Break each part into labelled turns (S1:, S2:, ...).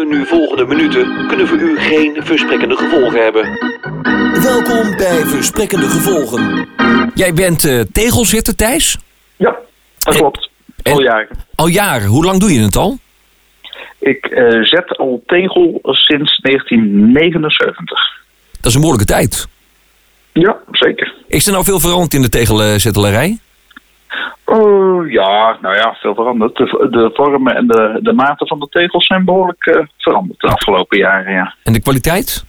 S1: komende minuten kunnen voor u geen versprekkende gevolgen hebben.
S2: Welkom bij Versprekkende Gevolgen. Jij bent eh, tegelzitter, Thijs?
S3: Ja, dat klopt.
S2: en-
S3: Al jaar.
S2: Al jaren. Hoe lang doe je het al?
S3: Ik eh, zet al tegel sinds 1979.
S2: Dat is een moeilijke tijd.
S3: Ja, zeker.
S2: Is er nou veel veranderd in de tegelzettelarij?
S3: Oh ja, nou ja, veel veranderd. De, de vormen en de, de maten van de tegels zijn behoorlijk eh, veranderd de afgelopen jaren, ja.
S2: En de kwaliteit?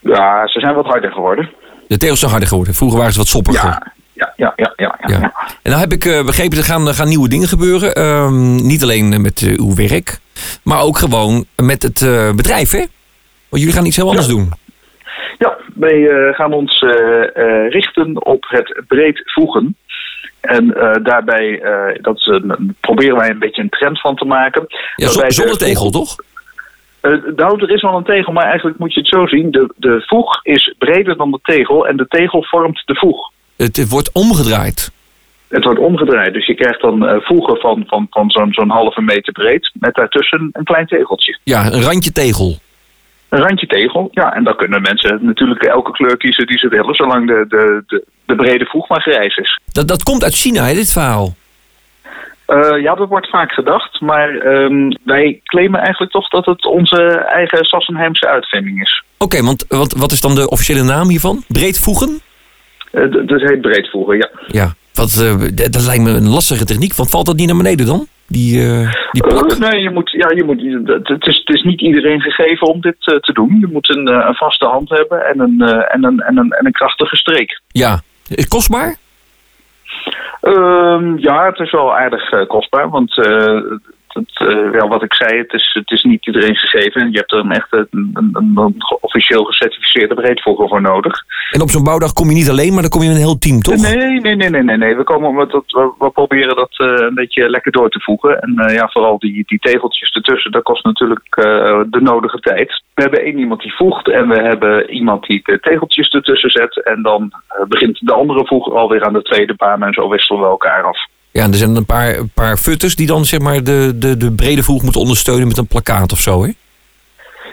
S3: Ja, ze zijn wat harder geworden.
S2: De tegels zijn harder geworden. Vroeger waren ze wat soppiger.
S3: Ja, ja, ja, ja, ja. ja,
S2: Ja.
S3: ja.
S2: En nou heb ik eh, begrepen, er gaan, er gaan nieuwe dingen gebeuren. Ehm, niet alleen eh, met eh, uw werk, maar ook gewoon met het eh, bedrijf, hè? Want jullie gaan iets heel anders doen.
S3: Ja, wij eh, gaan ons eh, eh, richten op het breed voegen. En eh, daarbij eh, dat is een- proberen wij een beetje een trend van te maken.
S2: Ja,
S3: Dat
S2: zo-
S3: wij de-
S2: zonder tegel, toch?
S3: Eh, nou, er is wel een tegel, maar eigenlijk moet je het zo zien. De, de voeg is breder dan de tegel en de tegel vormt de voeg.
S2: Het, het wordt omgedraaid.
S3: Het wordt omgedraaid, dus je krijgt dan eh, voegen van, van, van zo'n zo'n halve meter breed... met daartussen een klein tegeltje.
S2: Ja, een randje tegel.
S3: Een randje tegel, ja, en dan kunnen mensen natuurlijk elke kleur kiezen die ze willen... zolang de, de, de, de brede voeg maar grijs is.
S2: Dat, dat komt uit China, hè, dit verhaal.
S3: Eh, ja, dat wordt vaak gedacht, maar ehm, wij claimen eigenlijk toch dat het onze eigen Sassenheimse uitvinding is.
S2: Oké, want wat, wat is dan de officiële naam hiervan? Breedvoegen?
S3: Eh, d- dat heet breedvoegen, ja.
S2: Ja. Wat, eh, d- dat lijkt me een lastige techniek. Want valt dat niet naar beneden dan? Die, eh, die
S3: Eh,
S2: plak?
S3: nee, je moet, ja, je moet, dat- het, is, het is niet iedereen gegeven om dit eh, te doen. Je moet een, eh, een vaste hand hebben en een, eh, en een, en een, en een krachtige streek.
S2: Ja. Eh, Kostbaar?
S3: Ehm, ja, het is wel aardig eh, kostbaar, want eh, het, eh, wel wat ik zei, het is, het is niet iedereen gegeven. En je hebt er een echt een, een, een- een ge- officieel gecertificeerde breedvoeger voor nodig.
S2: En op zo'n bouwdag kom je niet alleen, maar dan kom je met een heel team, toch?
S3: Nee, nee, nee, nee, nee, nee. We, komen met dat, we, we proberen dat eh, een beetje lekker door te voegen. En eh, ja, vooral die, die tegeltjes ertussen, dat kost natuurlijk eh, de nodige tijd. We hebben één iemand die voegt en we hebben iemand die de tegeltjes ertussen zet. En dan eh, begint de andere voeger alweer aan de tweede baan en zo wisselen we elkaar af.
S2: Ja, en er zijn een paar, een paar futters die dan zeg maar de, de, de brede voeg moeten ondersteunen met een plakkaat of zo, hè?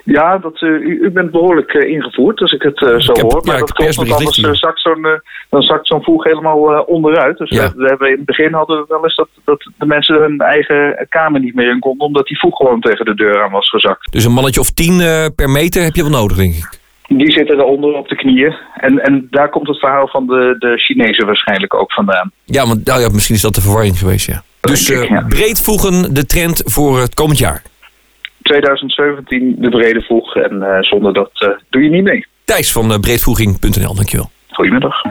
S3: Ja, dat, eh, u, u bent behoorlijk eh, ingevoerd als ik het eh, zo
S2: Ik heb-
S3: hoor.
S2: ja, ik
S3: Maar dat klopt, want
S2: persbericht
S3: anders
S2: ligt hier.
S3: eh, zakt zo'n, eh, dan zakt zo'n voeg helemaal eh, onderuit. Dus
S2: Ja.
S3: we, we hebben in het begin hadden we wel eens dat, dat de mensen hun eigen kamer niet meer in konden... omdat die voeg gewoon tegen de deur aan was gezakt.
S2: Dus een mannetje of tien eh, per meter heb je wel nodig, denk ik.
S3: Die zitten eronder op de knieën. En, en daar komt het verhaal van de, de Chinezen waarschijnlijk ook vandaan.
S2: Ja, want nou ja, misschien is dat de verwarring geweest, ja. Dus
S3: Denk ik,
S2: eh,
S3: ja.
S2: breedvoegen de trend voor het komend jaar.
S3: 2017 de brede voeg en eh, zonder dat eh, doe je niet mee.
S2: Thijs van eh, breedvoeging.nl, dankjewel.
S3: Goedemiddag.